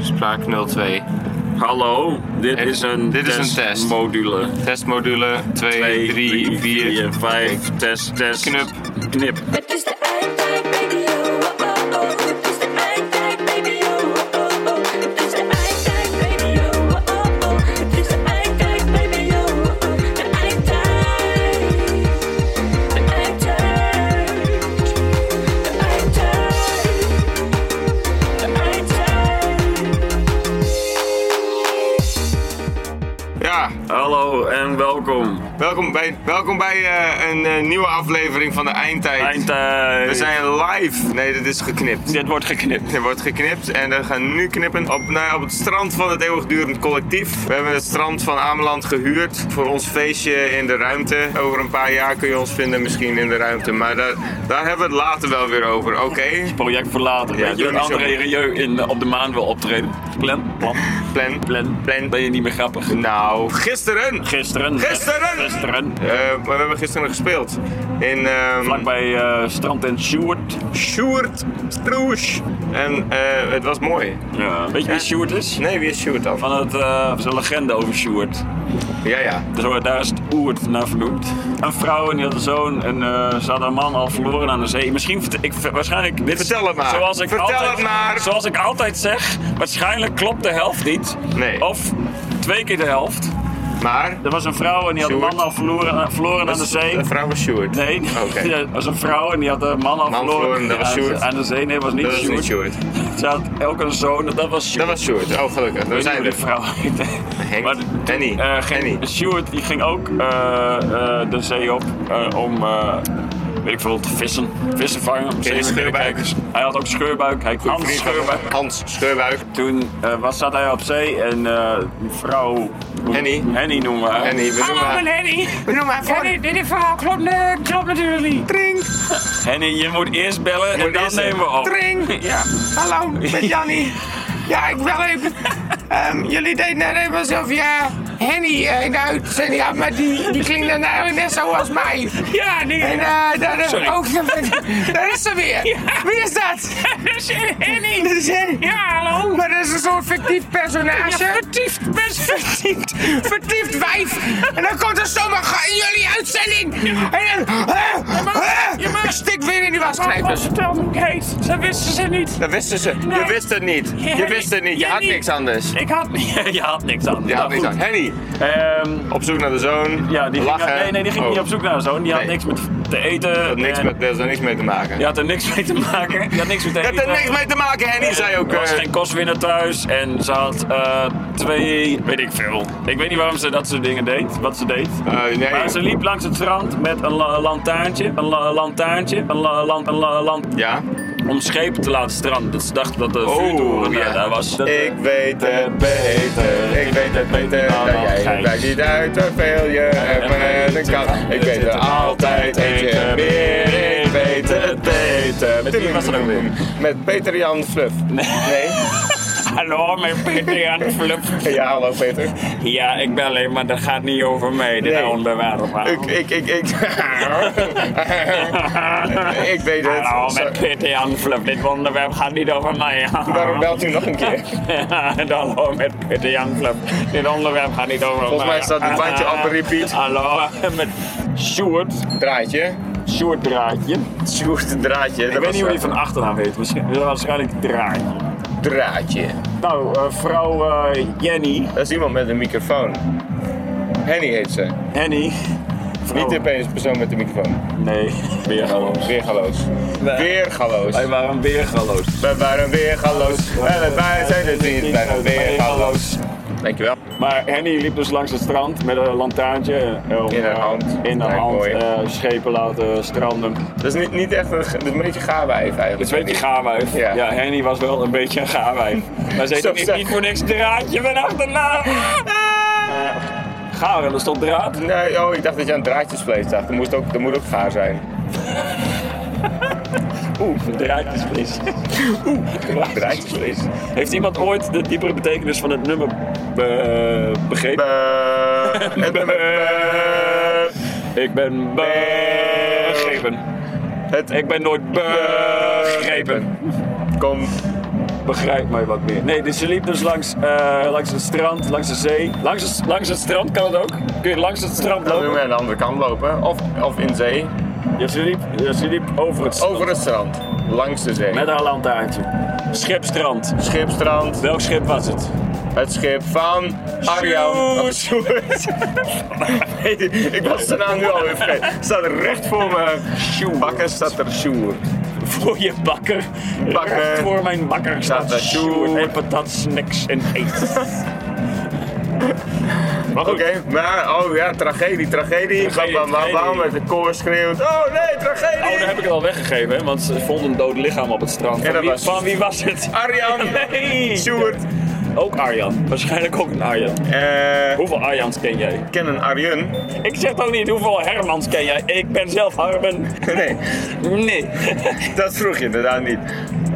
spraak 02. Hallo, dit Eh, is een dit is een test. testmodule. Testmodule 2, 3, 4. 5, test, test. Knip. Knip. Het is de eindtijd, baby, oh, oh, oh, oh. Het is de eindtijd, baby, oh, oh, oh, oh. Het is de eindtijd, baby, oh, oh, oh, oh. Het is de eindtijd, baby, oh, oh, oh. De eindtijd. De eindtijd. De eindtijd. De eindtijd. Ja, Hallo en welkom. welkom bij, welkom bij eh, een eh, nieuwe aflevering van de Eindtijd. Eindtijd. We zijn live. Nee, dit is geknipt. Dit wordt geknipt. Er wordt geknipt en we gaan nu knippen op, nou ja, op het strand van het eeuwigdurend collectief. We hebben het strand van Ameland gehuurd voor ons feestje in de ruimte. Over een paar jaar kun je ons vinden misschien in de ruimte, maar daar, daar hebben we het later wel weer over, oké? Project voor later. Ja, weet je, doe een niet zo andere goed. Rieu in, eh, op de maan wil optreden. Plan? Plan? Plan. Plan? Plan. Ben je niet meer grappig? Nou, gisteren! Gisteren. Gisteren! Gisteren. Eh, maar we hebben gisteren gespeeld in... ehm, Vlakbij eh Strand en Sjoerd. Sjoerd Stroes. En eh, het was mooi. Ja. Weet je wie Ja. Sjoerd is? Nee, wie is Sjoerd dan? Van het, eh, er is een legende over Sjoerd. Ja, ja. Zo, daar is het Oert naar vernoemd. Een vrouw en die had een zoon en eh, ze had haar man al verloren aan de zee. Misschien, vert- ik, waarschijnlijk... Dit is Vertel het maar. Zoals ik Vertel altijd, het maar. Zoals ik altijd zeg, waarschijnlijk klopt de helft niet. Nee. Of twee keer de helft. Maar Er was een vrouw en die had haar Sjoerd. man al verloren, eh, verloren aan de zee. de vrouw was Sjoerd. Nee, Oké. Ja, er was een vrouw en die had haar man al verloren verloren, dat was aan, Sjoerd. aan de zee. Nee, was niet Dat is niet Sjoerd. Sjoerd. Ze had ook een zoon, dat was Sjoerd. Dat was Sjoerd. Oh, gelukkig. We Ik weet zijn niet er. hoe die vrouw heet. Henk. Henny. eh, ging- Henny. Stuart die ging ook eh, eh, de zee op eh, om, eh, weet ik veel, te vissen. Vissen vangen. om zeeën scheurbuik? te kijken. Hij had ook scheurbuik. Hij kwam Vriend van- scheurbuik. Hans Scheurbuik. Toen eh, was, zat hij op zee en eh mevrouw... Henny. Henny noemen we haar. En die benoemen Hallo, ik haar. ben Henny. Benoem haar voor. Henny, dit dit verhaal klopt, eh, klopt natuurlijk niet. Tring. Henny, je moet eerst bellen en moet dan eerst- nemen we op. Tring. Ja. Hallo, ik ben Jannie. Ja, ik bel even. Ehm, jullie deden net even alsof je Henny eh, in de uitzending had, maar die, die klinkt dan eigenlijk net zoals mij. Ja, nee. En eh daar, is Sorry. ook, daar is ze weer. Wie is dat? Dat is Henny. Dat is Henny. Ja, hallo. Maar dat is een soort fictief personage. Vertiefd, best vertiefd. Vertiefd wijf. En dan komt er zomaar ge- in jullie uitzending. En dan... eh, mag- eh, je mag- Oh, Stik weer in die Wat wasknijpers. vertel hoe ik heet? Dat wisten ze niet. Dat wisten ze. Je wist het niet. Je Henny. wist het niet. Je had Henny. niks anders. Ik had, je had niks aan. Ehm, Je had niks aan. Henny. Op zoek naar de zoon. ja, die ging, Lachen. nee, nee, die ging Oh, niet op zoek naar zoon. Die had Nee. niks met te eten. dat had niks en- met- Daar is er niks mee te maken. Die Je had er niks mee te maken. Die had niks met te hebt eten. er niks mee te maken, Henny, zei ook. Er was eh, geen kostwinner thuis en ze had eh, twee, weet ik veel. Ik weet niet waarom ze dat soort dingen deed, wat ze deed. eh, nee. Maar ze liep langs het strand met een la- lantaarntje, een la- lantaarntje, een la- lan- een la- lan- Ja? om schepen te laten stranden. Dat ze dacht dat de Oh, vuurtoren eh, ja. daar was. Dat, eh, Ik weet het beter, ik weet het beter dan jij. Het maakt niet uit hoeveel je hebt met een kat. Ik weet er altijd eentje meer, ik weet het beter. Met wie was dat ook weer? Met Peter Jan Fluff. Nee? Hallo, mijn Peter aan de Fluff. Ja, hallo Peter. Ja, ik ben alleen, maar dat gaat niet over mij, dit Nee. onderwerp. Ik, ik, ik, ik. ik weet het. Hallo, Zo- met Peter Jan Fluff. Dit onderwerp gaat niet over mij. Waarom belt u nog een keer? Hallo, met Peter Jan Fluff. Dit onderwerp gaat niet over mij. Ah, Volgens mij staat het bandje op repeat. Hallo, met Sjoerd. Draadje. Sjoerd Draadje. Sjoerd draadje. Ik weet niet hoe die van achternaam heet. Misschien, waarschijnlijk Draadje. Draadje. Nou, eh, vrouw eh, Jenny. Dat is iemand met een microfoon. Henny heet ze. Henny. Vrouw- Niet de enige persoon met de microfoon. Nee, weergaloos. Weergaloos. Weergaloos. Wij waren weergaloos. We waren weergaloos. En Eh, wij zijn het niet. Wij zijn weergaloos. Dankjewel. Maar Henny liep dus langs het strand met een lantaarntje. eh, om, In haar eh, hand. In haar Ja, hand. mooi. eh, schepen laten stranden. Dat is niet, niet echt een, ge- dat is een beetje een gaarwijf eigenlijk. Dus weet je, gaarwijf. Ja. Ja. Henny was wel een beetje een gaarwijf. maar ze heette Zo, zo. niet, niet voor niks draadje van achterna. Eh, Gaar, en er stond draad. Nee, oh, ik dacht dat je aan draadjesvlees dacht. Dat, moest ook, dat moet ook gaar zijn. Oeh, draadjesvlees. Oeh, Draadjesvlees. Heeft iemand ooit de diepere betekenis van het nummer be- begrepen? Het nummer- Ik ben begrepen. Het Ik ben nooit begrepen. Kom Begrijp mij wat meer. Nee, dus je liep dus langs, eh, langs het strand, langs de zee. Langs het, langs het strand kan het ook. Kun je langs het strand Dan doen we lopen? aan de andere kant lopen. Of, of in zee. Ja, ze liep, ja, ze liep over het strand. Over het strand. Langs de zee. Met haar lantaarntje. Schipstrand. Schipstrand. Welk schip was het? Het schip van Arjan. Oh, Sjoerd. Nee, ik was zijn naam nu alweer vergeten. Staat recht voor me. Sjoerd. Bakker staat er Sjoerd. Voor je bakker. Bakker. Recht Voor mijn bakker staat Staat er Sjoerd Sjoerd. en patat, snacks en eten. Oké, maar oh ja, tragedie, tragedie. Bam, bam, bam, bam. tragedie. Met de koor schreeuwt. Oh nee, Oh, tragedie. dan heb ik het al weggegeven, hè, want ze vonden een dood lichaam op het En strand. Van dat wie, was- van wie was het? Arjan. Nee! Sjoerd. Ook Arjan. Waarschijnlijk ook een Arjan. Eh, Hoeveel Arjans ken jij? ik ken een Arjen. Ik zeg ook niet hoeveel Hermans ken jij. Ik ben zelf Harmen. Nee, Nee. dat vroeg je inderdaad niet.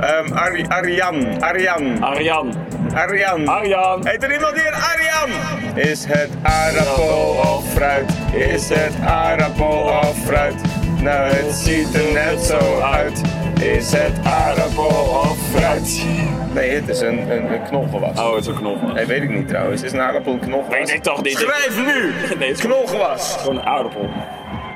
Ehm Ari- Arjan, Arjan, Arjan. Arjan. Arjan. Heet er iemand hier Arjan? Is het aardappel of fruit? Is het aardappel of fruit? Nou, het ziet er net zo uit. Is het aardappel of fruit? Nee, het is een, een, een knolgewas. Oh, het is een knop, man. Nee, weet ik niet trouwens. Is een aardappel een knolgewas? Weet ik toch niet. Schrijf nu! Nee, het is Knolgewas! gewoon een aardappel.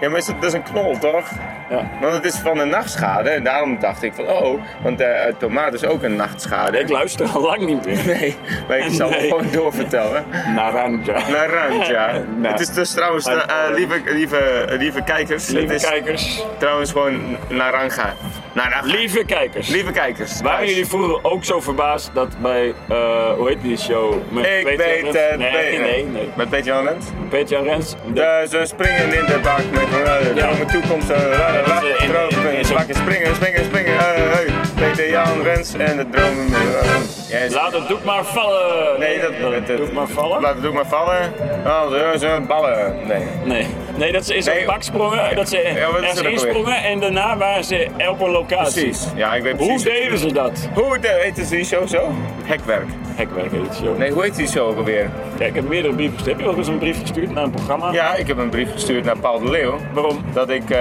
Ja, maar is dat, dat is een knol, toch? Ja. Want het is van een nachtschade. En daarom dacht ik van, oh, want eh tomaat is ook een nachtschade. Ik luister al lang niet meer. Nee, maar ik zal Nee. het gewoon doorvertellen. Naranja. Naranja. Nou. Het is dus trouwens, eh, eh, lieve, lieve, lieve kijkers, Lieve het is kijkers. trouwens gewoon naranja. Naranja. Lieve kijkers. lieve kijkers. Waren thuis. jullie vroeger ook zo verbaasd dat bij, eh, hoe heet die show? Met Ik Peter weet Rens- het Nee, beter. nee, nee. Met Peter Jan Lent? Peter Rens. De, Eh, Ze springen in de bak met eh, Ja. de mijn toekomst. eh, eh, Dat is, eh, in- in- in Dromen, zo'n- bakken, springen, springen, springen. eh, hey. Peter Jan Rens en de dromen. eh, jij is- laat het doek maar vallen. Nee, dat, Laat het doek maar vallen. Laat het doek maar vallen. Oh, ze- ze ballen. Nee. Nee. nee, dat ze in zo'n Nee. pak sprongen, dat ze Ja, wat is er ergens ook alweer? insprongen en daarna waren ze op een locatie. Precies. Ja, ik weet Hoe precies. deden ze dat? Hoe de, heet het die show zo? Hekwerk. Hekwerk heet het zo. Nee, hoe heet die show ook alweer? Ja, ik heb meerdere brieven gestuurd. Heb je ook eens een brief gestuurd naar een programma? Ja, ik heb een brief gestuurd naar Paul de Leeuw. Waarom? Dat ik, eh,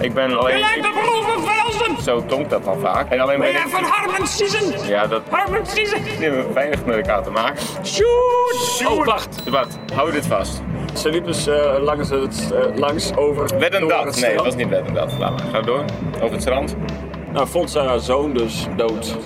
ik ben alleen... ik- de broer van Velzen. zo klonk dat dan vaak. En alleen Ben ben jij ik... van Harman Season? Ja, dat Harman Season. die hebben weinig met elkaar te maken. Dus Shoot! Oh, wacht. Wat? Hou dit vast. Ze liepen dus eh, langs, het, eh, langs over Wed en door dat. het Nee, dat strand. was niet wed en dat. Laat maar. Ga door. Over het strand. Nou, vond zij haar zoon dus dood.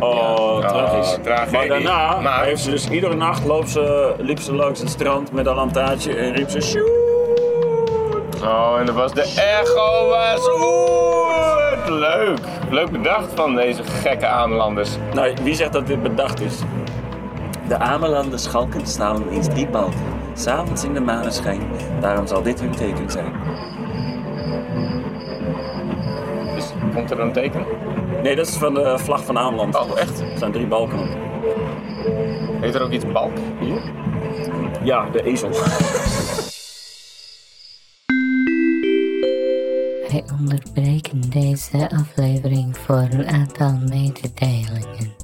Oh, tragisch. tragedie. Maar daarna Ah, Maar- heeft ze dus iedere nacht loopt ze, liep ze langs het strand met een lantaartje en riep ze "Sjoerd." Oh, en dat was de echo was goed. Leuk. Leuk bedacht van deze gekke aanlanders. Nou, wie zegt dat dit bedacht is? De Amelanden schalkend staan eens driemaal. S'avonds in de maneschijn, daarom zal dit hun teken zijn. Dus, komt er een teken? Nee, dat is van de vlag van Ameland. Oh, echt? Er staan drie balken op. Heet er ook iets balk? Ja, de ezel. Wij onderbreken deze aflevering voor een aantal mededelingen.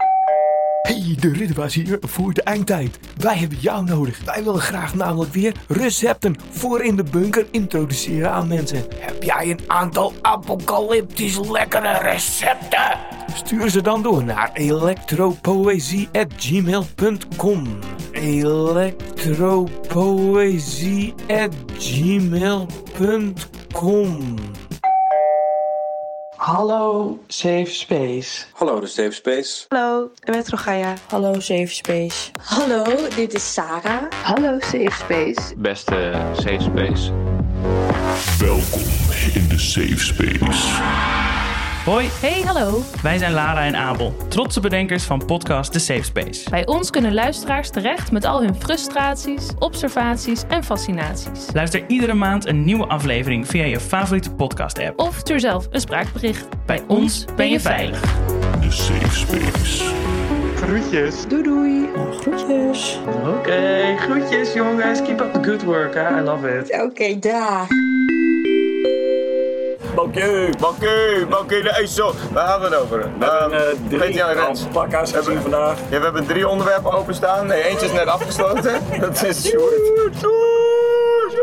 Hey, de Ridderbaas hier voor de eindtijd. Wij hebben jou nodig. Wij willen graag namelijk weer recepten voor in de bunker introduceren aan mensen. Heb jij een aantal apocalyptisch lekkere recepten? Stuur ze dan door naar electropoëzie@gmail.com. electropoëzie@gmail.com. Hallo Safe Space. Hallo de Safe Space. Hallo, Metro Gaia. Hallo, Safe Space. Hallo, dit is Sarah. Hallo, Safe Space. Beste safe space. Welkom in de safe space. Hoi, Hey, hallo. wij zijn Lara en Abel, trotse bedenkers van podcast The Safe Space. Bij ons kunnen luisteraars terecht met al hun frustraties, observaties en fascinaties. Luister iedere maand een nieuwe aflevering via je favoriete podcast-app. Of stuur zelf een spraakbericht. Bij ons ben je veilig. De safe space. Doei doei. Oké, groetjes jongens. Keep up the good work, I love it. Oké, dag. Balkje! Balku, Balku de IJssel. Waar hadden we het over? Ehm, Peter Jan Rens. pakka's Eh, gezien vandaag. Ja, we hebben drie onderwerpen openstaan. Nee, eentje is net afgesloten. Dat is Sjoerd. Sjoerd!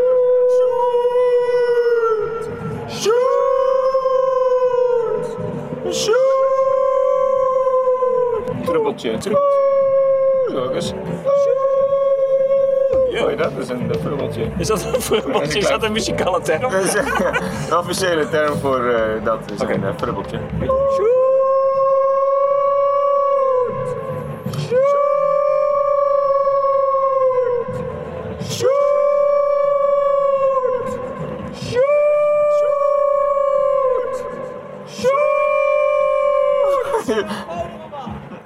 Sjoerd! Sjoerd! Trubbeltje. Jongens. Hoor je Oh, dat? Dat is een frubbeltje. Is dat een frubbeltje? Is dat een muzikale term? Dat is een officiële term voor eh, dat. is een eh, frubbeltje.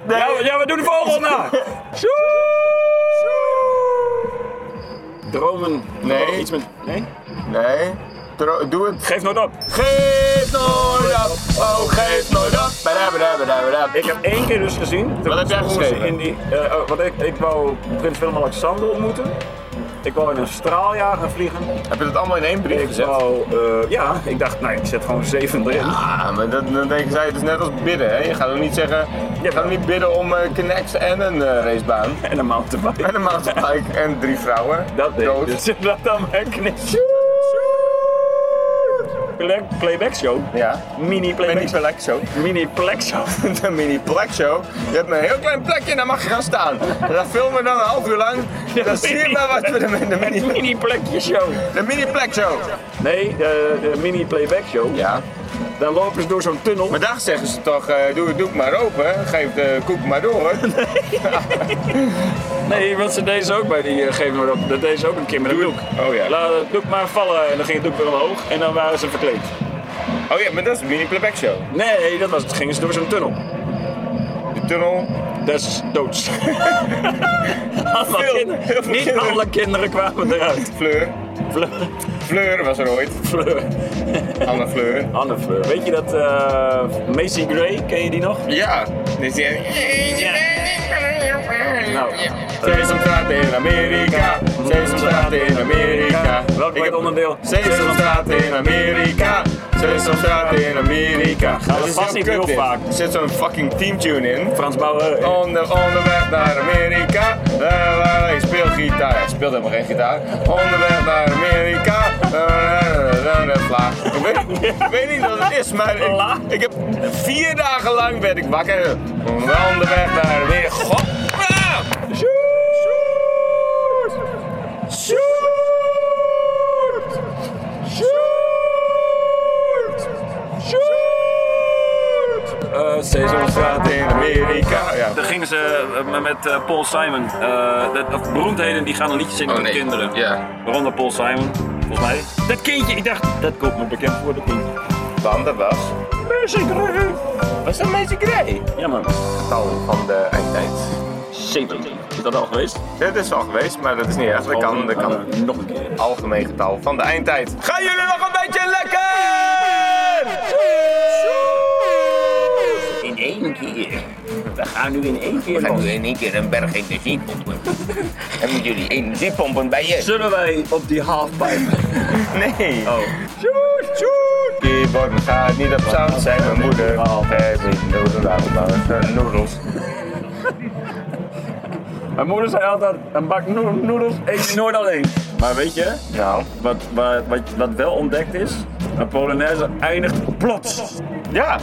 Ja, we- ja, we doen de volgende! Dromen. Nee. Iets met... Nee? Nee. Dro- Doe het. Geef nooit op. Geef nooit op. Oh, geef nooit op. Badabadabadabadab. Ik heb één keer dus gezien. Wat heb jij Toen geschreven? ze In die, eh, oh, want ik, ik wou Prins Willem-Alexander ontmoeten. Ik wou in een straaljager vliegen. Heb je dat allemaal in één brief ik gezet? Wou, eh, ja, ik dacht, nee, ik zet gewoon zeven erin. Ja, Ah, maar dat, dan denk ik, zei, het is net als bidden. Hè? Je gaat ook niet zeggen, je gaat ook niet bidden om eh connects en een eh, racebaan. En een mountainbike. En een mountainbike en drie vrouwen. Dat deed ik Dood. dus. Dat dan mijn knisje. Playback show. Ja. Mini playback show. Mini playback show. Een mini plek show. Je hebt een heel klein plekje en daar mag je gaan staan. En dan filmen we dan een half uur lang. Dan zie je maar wat we er met de mini... mini plekje show. De mini plek show. Nee, de, de mini playback show. Ja. Dan lopen ze door zo'n tunnel. Maar daar zeggen ze toch, eh, doe het doek maar open. Geef de koek maar door. Nee, want ze deden ze ook bij die eh, geef nooit op. Dat deden ze ook een keer met een doek. Oh ja. Laat het doek maar vallen en dan ging het doek weer omhoog en dan waren ze verkleed. Oh ja, maar dat is een mini playback show. Nee, dat was het. Gingen ze door zo'n tunnel. De tunnel. Dat is doods. Allemaal kinderen- Niet alle kinderen kwamen eruit. Fleur. Fleur. Fleur was er ooit. Fleur. Anne Fleur. Anne Fleur. Weet je dat eh Macy Gray, ken je die nog? Ja. Dus die... Nou. Sesamstraat in Amerika. Sesamstraat in Amerika. Welk Ik was heb het onderdeel? Sesamstraat in Amerika. Sesamstraat in Amerika. dat Dat is past heel niet kut heel dit. vaak. Er zit zo'n fucking teamtune in. Frans Bauer. Onder, onderweg naar Amerika, eh, waar ik speel gitaar. Hij speelt helemaal geen gitaar. Onderweg naar Amerika, eh, eh, eh, la. Ik weet, ik weet niet wat het is, maar ik, ik heb vier dagen lang werd ik wakker. Onderweg naar Amerika. God. Ah! Eh Sesamstraat in Amerika. Ja. Daar gingen ze eh, met eh, Paul Simon. eh, dat, of beroemdheden die gaan een liedje zingen Oh, met nee. kinderen. Ja. Waaronder Paul Simon, volgens mij. Dat kindje, ik dacht, dat komt me bekend voor, dat kindje. Dan, dat was. Macy Gray. Was dat Magic Grey? Ja man. Tal van de eindtijd. Zeven. Is dat al geweest? Oh, Dit is al geweest, maar dat is niet echt. Dat kan, dat kan. Nog een keer. Algemeen getal van de eindtijd. Gaan jullie nog een beetje lekker? In één keer. We gaan nu in één keer. We gaan nu in één keer een berg energie pompen. Hebben jullie energie pompen bij je? Zullen wij op die halfpipe? Nee. Oh. Sjoerd, sjoerd. Keyboard gaat niet op sound, zijn mijn moeder. Altijd in noedel, noedels. Mijn moeder zei altijd, een bak noe- noedels eet je nooit alleen. Maar weet je, Nou. wat, wat, wat, wat wel ontdekt is, een Polonaise eindigt plots. Ja,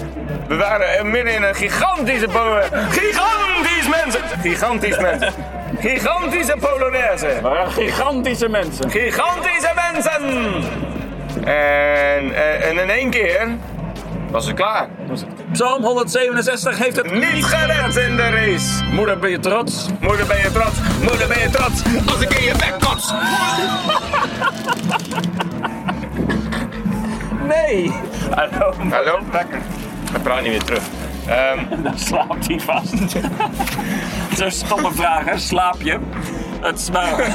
we waren eh, midden in een gigantische po- Gigantisch mensen! Gigantisch mensen. Gigantische Polonaise. Maar gigantische mensen. Gigantische mensen! En, eh, en in één keer was het klaar. Psalm 167 heeft het Niet gered in de race. Hm? Moeder, ben je trots? Moeder ben je trots, moeder ben je trots. Als ik in je bek kots. Nee! Hallo, Hallo? Ik praat niet meer terug. Ehm, dan slaapt hij vast. Zo'n stomme vraag, hè? Slaap je? Het is maar... Dat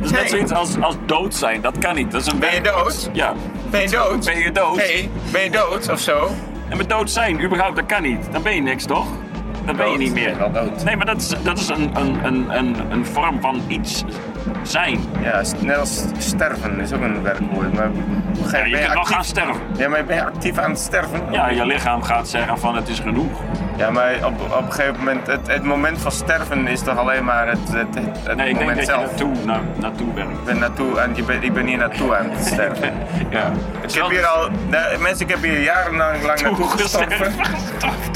is net zoiets als, als dood zijn, dat kan niet. Dat is een ben je dood? Ja. Ben je dood? Ben je dood? Hey, ben je dood of zo? En met dood zijn, überhaupt, dat kan niet. Dan ben je niks, toch? Dan ben Dood. je Oh, niet meer. Ik ben wel dood. Nee, maar dat is, dat is een, een, een, een, een vorm van iets zijn. Ja, s- net als sterven is ook een werkwoord. Maar Ja, je ben kunt nog actief- gaan sterven. Ja, maar ben je actief aan het sterven? Ja, je lichaam gaat zeggen van het is genoeg. Ja, maar op, op een gegeven moment, het, het moment van sterven is toch alleen maar het, het, het, het Nee, ik denk moment dat je zelf. naartoe, na, naartoe werkt. Ik ben, naartoe aan, ik ben, ik ben hier naartoe aan het sterven. ja. Ik heb hier al, de- mensen, ik heb hier jarenlang lang naartoe gestorven.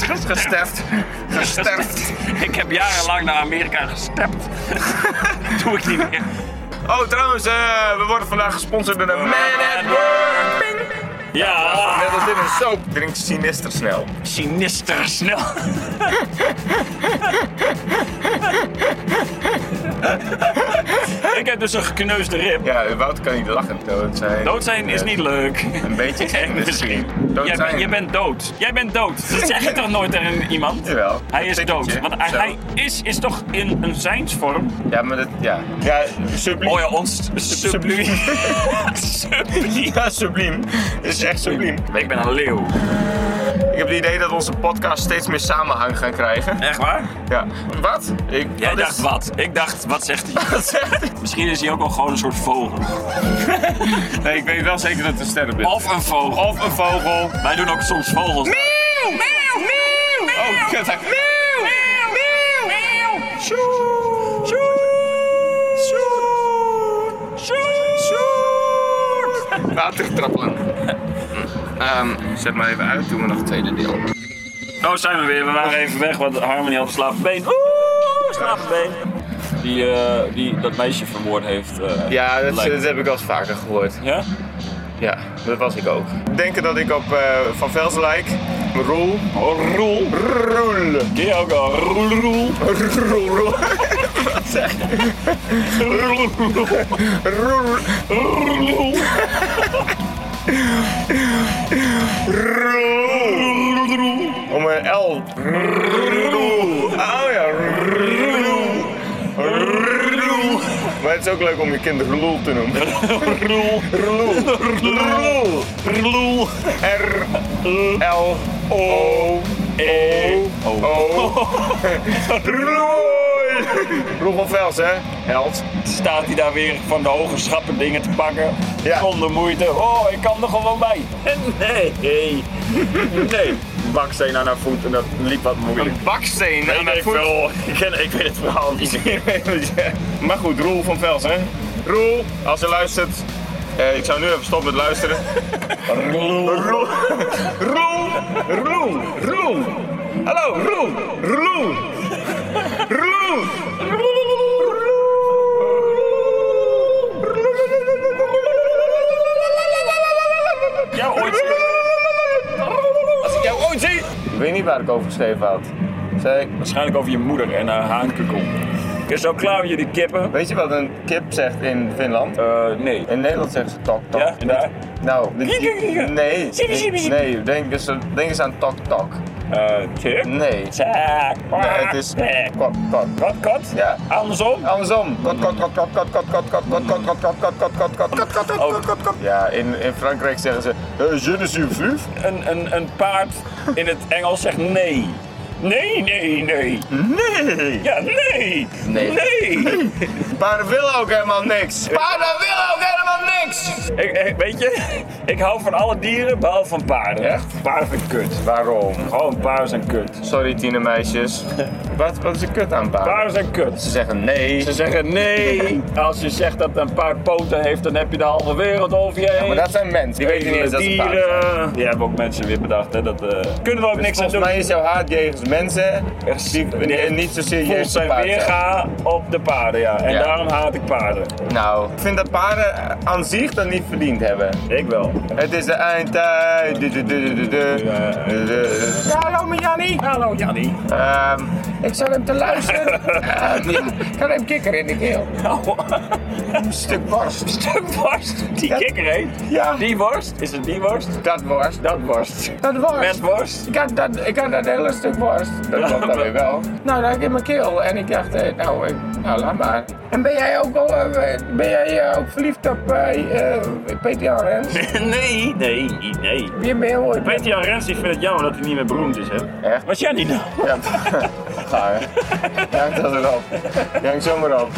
Gesterfd. Gesterfd. ik heb jarenlang naar Amerika gestept. Doe ik niet meer. Oh, trouwens, eh, we worden vandaag gesponsord door de Man at Work. Ja. Net als dit een soap. Drink sinister snel. Sinister snel. ik heb dus een gekneusde rib. Ja, Wout kan niet lachen. Dood zijn. Dood zijn is Eh, niet leuk. Een beetje eng misschien. Dood Jij, zijn. bent- je bent dood. Jij bent dood. Dat zeg je toch nooit tegen iemand? Jawel. Hij is dood. Tikkeltje. Want hij, Zo. hij is, is toch in een zijnsvorm? Ja, maar dat, ja. Ja, subliem. Oh ja, ons subliem. subliem. Ja, subliem. Het is echt subliem. Ik ben een leeuw. Ik heb het idee dat onze podcast steeds meer samenhang gaan krijgen. Echt waar? Oh, Ja. Wat? Ik, Jij wat is- dacht wat? Ik dacht, wat zegt hij? Wat zegt hij? Misschien is hij ook al gewoon een soort vogel. Nee, ik weet wel zeker dat het een sterren bent. Of een vogel. Of een vogel. Wij doen ook soms vogels. Oh, kut. hij- Watertrappelen. Ehm, zet maar even uit, doen we nog het tweede deel. Oh, zijn we weer. We waren even weg, want Harmony had een slavenbeen. Oeh, slavenbeen. Die, eh, die dat meisje vermoord heeft. eh, Ja, dat, lijkt- dat heb ik al eens vaker gehoord. Ja? Ja, dat was ik ook. Denken dat ik op eh, Van Velsen lijk. Roel. Roel. Roel. Ken je ook al? Roel, roel. Roel. Roel. Roel, roel. Roel. Roel. Roel. Om een L. Roel. Oh ja. Roel. Roel. Maar het is ook leuk om je kind Roel te noemen. Roel. Roel. Roel. Roel. R. L. O. E. O. Roel. Roel van Vels, hè? Held. Staat hij daar weer van de hoge schappen dingen te pakken? Ja. Zonder moeite. Oh, ik kan er gewoon bij. Nee. Nee. nou Baksteen aan haar voet en dat liep wat moeilijk. Een baksteen aan haar ik voet? wel. Ik, ken, ik weet het verhaal niet. maar goed, Roel van Vels, hè? Roel, als je luistert. eh, ik zou nu even stoppen met luisteren. Roel. Roel. Roel. Roel. Roel. Hallo, Roel. Roel. Roel. Jou ooit. Als ik jou ooit zie. Ik weet niet waar ik over geschreven had. Zei ik, Waarschijnlijk over je moeder en haar haankukel. Ik ben zo klaar met jullie kippen. Weet je wat een kip zegt in Finland? Eh, nee. In Nederland zeggen ze tok tok. Ja, en daar? Nou, de- Kiek, kiek, kiek. nee. Sibbe, sibbe, sibbe. Nee, denk eens, denk eens aan tok tok. Eh, kip? Nee. Taak. Ah, Nee, het is kot kot. Wat, kot? Ja. Andersom? Andersom. Kot kot kot kot kot kot kot kot kot kot kot kot kot kot kot kot kot kot kot kot kot. Ja, in, in Frankrijk zeggen ze eh, je ne suis plus. Een, een, een paard in het Engels zegt nee. Nee, nee, nee. Nee. Ja, nee. Nee. Nee. Paarden willen ook helemaal niks. Paarden willen ook helemaal niks. Ik, ik- weet je, ik hou van alle dieren behalve van paarden. Echt? Paarden vind ik kut. Waarom? Gewoon paarden zijn kut. Sorry tienermeisjes. Wat, wat is er kut aan paarden? Paarden zijn kut. Ze zeggen nee. Ze zeggen nee. Als je zegt dat een paar poten heeft, dan heb je de halve wereld over je heen. Maar dat zijn mensen. Die weten niet eens dat ze paarden zijn. dieren. Die hebben ook mensen weer bedacht. Hè, dat, eh, kunnen we ook Dus niks aan volgens doen. mij is jouw haat jegens mensen Echt, die, die die, heeft- niet zozeer voelt jegens de zijn paarden. zijn. weerga op de paarden, ja. En Ja. daarom haat ik paarden. Nou, ik vind dat paarden aan zich dat niet verdiend hebben. Ik wel. Het is de eindtijd. Du- du- du- du- du- du. Ja. Du- du- du. Ja, hallo met Jannie. Hallo Jannie. Ehm, ik zat hem te luisteren. Ehm, ja, ik had hem kikker in de keel. Nou, Een stuk worst. stuk worst. Die Ja. kikker heet. Ja. Die worst. Is het die worst? Dat worst. Dat worst. Dat worst. Met worst. Ik had, dat, ik had dat hele stuk worst. Dat klopt dan weer wel. Nou, dat had ik in mijn keel. En ik dacht, eh, nou, eh, nou laat maar. En ben jij ook, al, eh, ben jij eh, ook verliefd op eh, eh, Peter Jan Rens? Nee. Nee, nee. Je bent heel mooi. Peter Jan Rens, ik vind het jammer dat hij niet meer beroemd is, hè? Echt? Was jij niet nou? Ja, gaar. Jank dat erop. Jank zomaar op.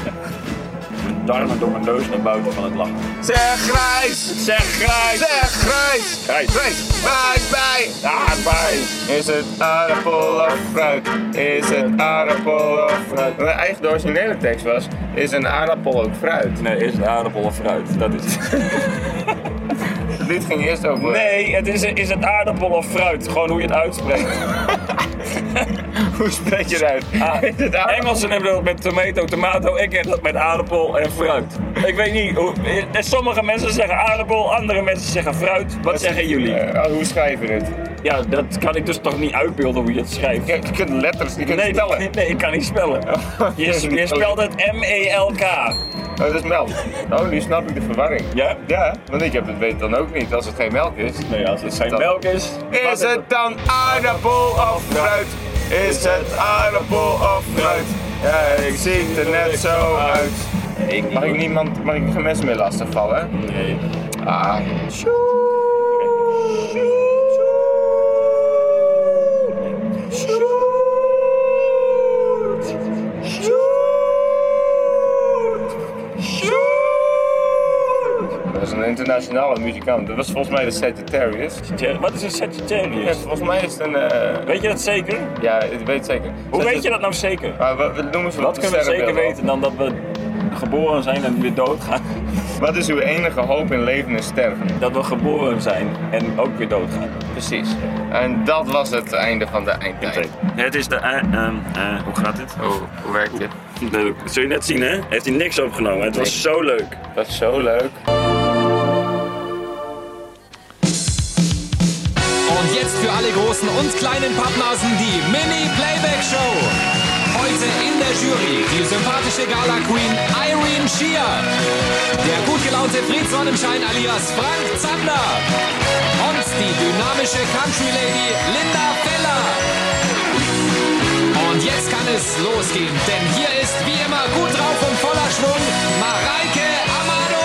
darmen door mijn neus naar buiten van het lachen. Zeg grijs! Zeg grijs! Zeg grijs! Grijs. Ah, Bij, bij! Daarbij! Is het aardappel of fruit? Is het aardappel of fruit? Maar eigenlijk de originele tekst was, is een aardappel ook fruit? Nee, is het aardappel of fruit? Dat is Dit ging eerst over... Nee, het is, is het aardappel of fruit? Gewoon hoe je het uitspreekt. Hoe spreek je het uit? Ah, Engelsen hebben dat met tomato, tomato. Ik heb dat met aardappel en fruit. Ik weet niet. Hoe, eh, sommige mensen zeggen aardappel, andere mensen zeggen fruit. Wat zeggen jullie? Eh, hoe schrijven we het? Ja, dat kan ik dus toch niet uitbeelden hoe je het schrijft. Je, je kunt letters, je kunt nee, spellen. nee, nee, ik kan niet spellen. Je, je spelt het E M-E-L-K. Oh, dat is melk. Oh, nu snap ik de verwarring. Ja? Ja, want ik heb het weet dan ook niet als het geen melk is. Nee, als het zijn Dat- melk is. Is het dan aardappel of fruit? Is het aardappel of fruit? Ja, ik zie het er net zo uit. Mag ik niemand, mag ik geen mensen meer lastigvallen? Nee. Ah, dat is een internationale muzikant. Dat was volgens mij de Sagittarius. Ja, Wat is een Sagittarius? Ja, volgens mij is het een... eh, Weet je dat zeker? Ja, ik weet het zeker. Hoe weet je dat nou zeker? Maar wat, wat noemen ze Wat de kunnen we zeker sterrenbeelden? weten dan dat we geboren zijn en weer doodgaan? Wat is uw enige hoop in leven en sterven? Dat we geboren zijn en ook weer doodgaan. Precies. En dat was het einde van de eindtijd. Het is de. eh, ehm, eh, hoe gaat dit? Oh, hoe werkt dit? Leuk. Zul je net zien, hè? Heeft hij niks opgenomen? Het was zo leuk. Dat is zo leuk. Und jetzt für alle großen und kleinen Pappnasen die Mini-Playback-Show. Heute in der Jury die sympathische Gala-Queen Irene Schier, der gut gelaunte Fried Sonnenschein alias Frank Zander und die dynamische Country-Lady Linda Feller. Und jetzt kann es losgehen, denn hier ist wie immer gut drauf und voller Schwung Mareike Amado.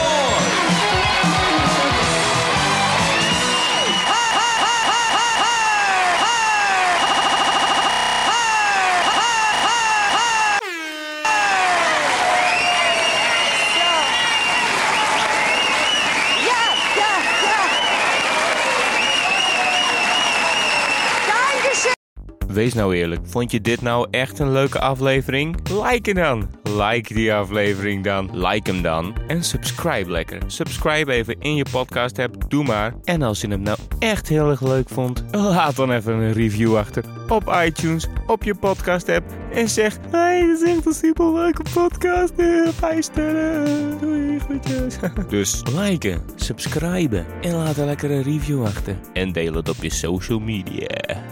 Ja, ja, ja. Dankeschön. Wees nou eerlijk, vond je dit nou echt een leuke aflevering? Like hem dan! Like die aflevering dan, like hem dan. En subscribe lekker. Subscribe even in je podcast app, doe maar. En als je hem nou echt heel erg leuk vond, laat dan even een review achter. Op iTunes, op je podcast app. En zeg, hey, dit is echt een super leuke podcast. Eh, Vijf sterren, doei, groetjes. Dus liken, subscriben en laat een lekkere review achter. En deel het op je social media.